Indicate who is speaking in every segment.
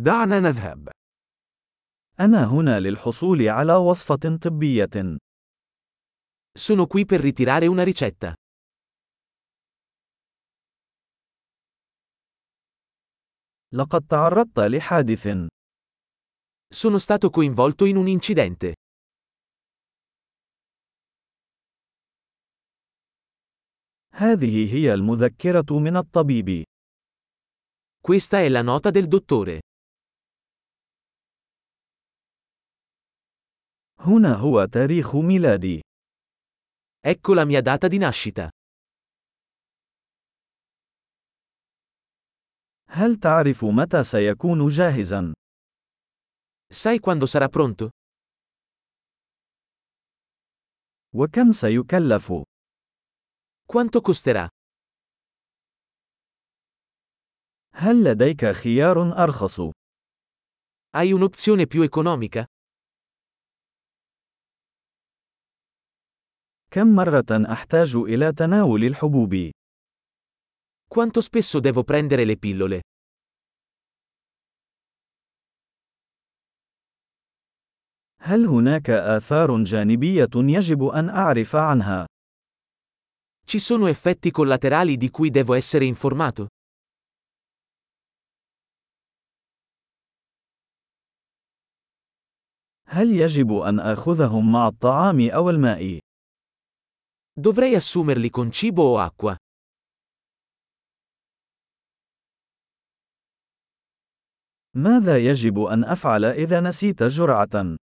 Speaker 1: دعنا نذهب.
Speaker 2: أنا هنا للحصول على وصفة طبية.
Speaker 1: Sono qui per ritirare una ricetta.
Speaker 2: لقد تعرضت لحادث.
Speaker 1: Sono stato coinvolto in un incidente.
Speaker 2: هذه هي المذكرة من الطبيب.
Speaker 1: Questa è la nota del dottore.
Speaker 2: هنا هو تاريخ ميلادي.
Speaker 1: Ecco la mia data di nascita.
Speaker 2: هل تعرف متى سيكون جاهزا؟
Speaker 1: Sai quando sarà pronto?
Speaker 2: وكم سيكلف؟
Speaker 1: Quanto costerà?
Speaker 2: هل لديك خيار أرخص؟
Speaker 1: Hai un'opzione più economica?
Speaker 2: كم مرة أحتاج إلى تناول الحبوب؟
Speaker 1: Quanto spesso devo prendere le pillole?
Speaker 2: هل هناك آثار جانبية يجب أن أعرف عنها؟
Speaker 1: Ci sono effetti collaterali di cui devo essere informato?
Speaker 2: هل يجب أن آخذهم مع الطعام أو الماء؟
Speaker 1: Dovrei assumerli con cibo o acqua?
Speaker 2: ماذا يجب أن أفعل إذا نسيت جرعة؟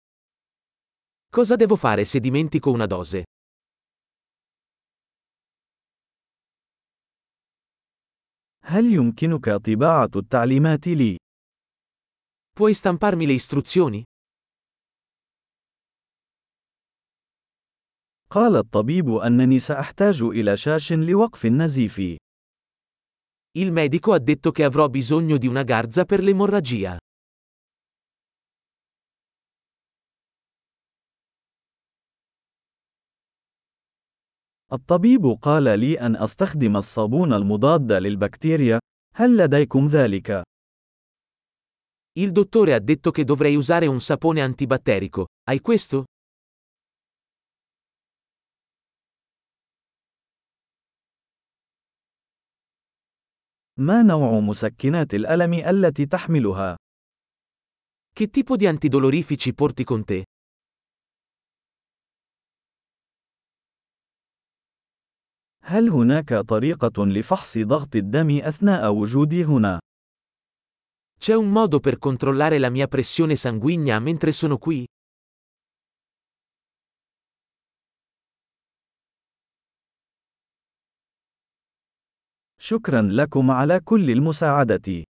Speaker 1: Cosa devo fare se dimentico una dose?
Speaker 2: هل يمكنك طباعة التعليمات لي؟
Speaker 1: Puoi stamparmi le istruzioni?
Speaker 2: قال الطبيب أنني سأحتاج إلى شاش لوقف النزيف.
Speaker 1: Il medico ha detto che avrò bisogno di una garza per l'emorragia.
Speaker 2: الطبيب قال لي أن أستخدم الصابون المضاد للبكتيريا. هل لديكم ذلك؟
Speaker 1: Il dottore ha detto che dovrei usare un sapone antibatterico. Hai questo?
Speaker 2: ما نوع مسكنات الألم التي تحملها؟
Speaker 1: Che tipo di antidolorifici porti con te?
Speaker 2: هل هناك طريقة لفحص ضغط الدم أثناء وجودي هنا؟
Speaker 1: C'è un modo per controllare la mia pressione sanguigna mentre sono qui?
Speaker 2: شكرا لكم على كل المساعدة.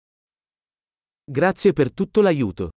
Speaker 1: Grazie per tutto l'aiuto.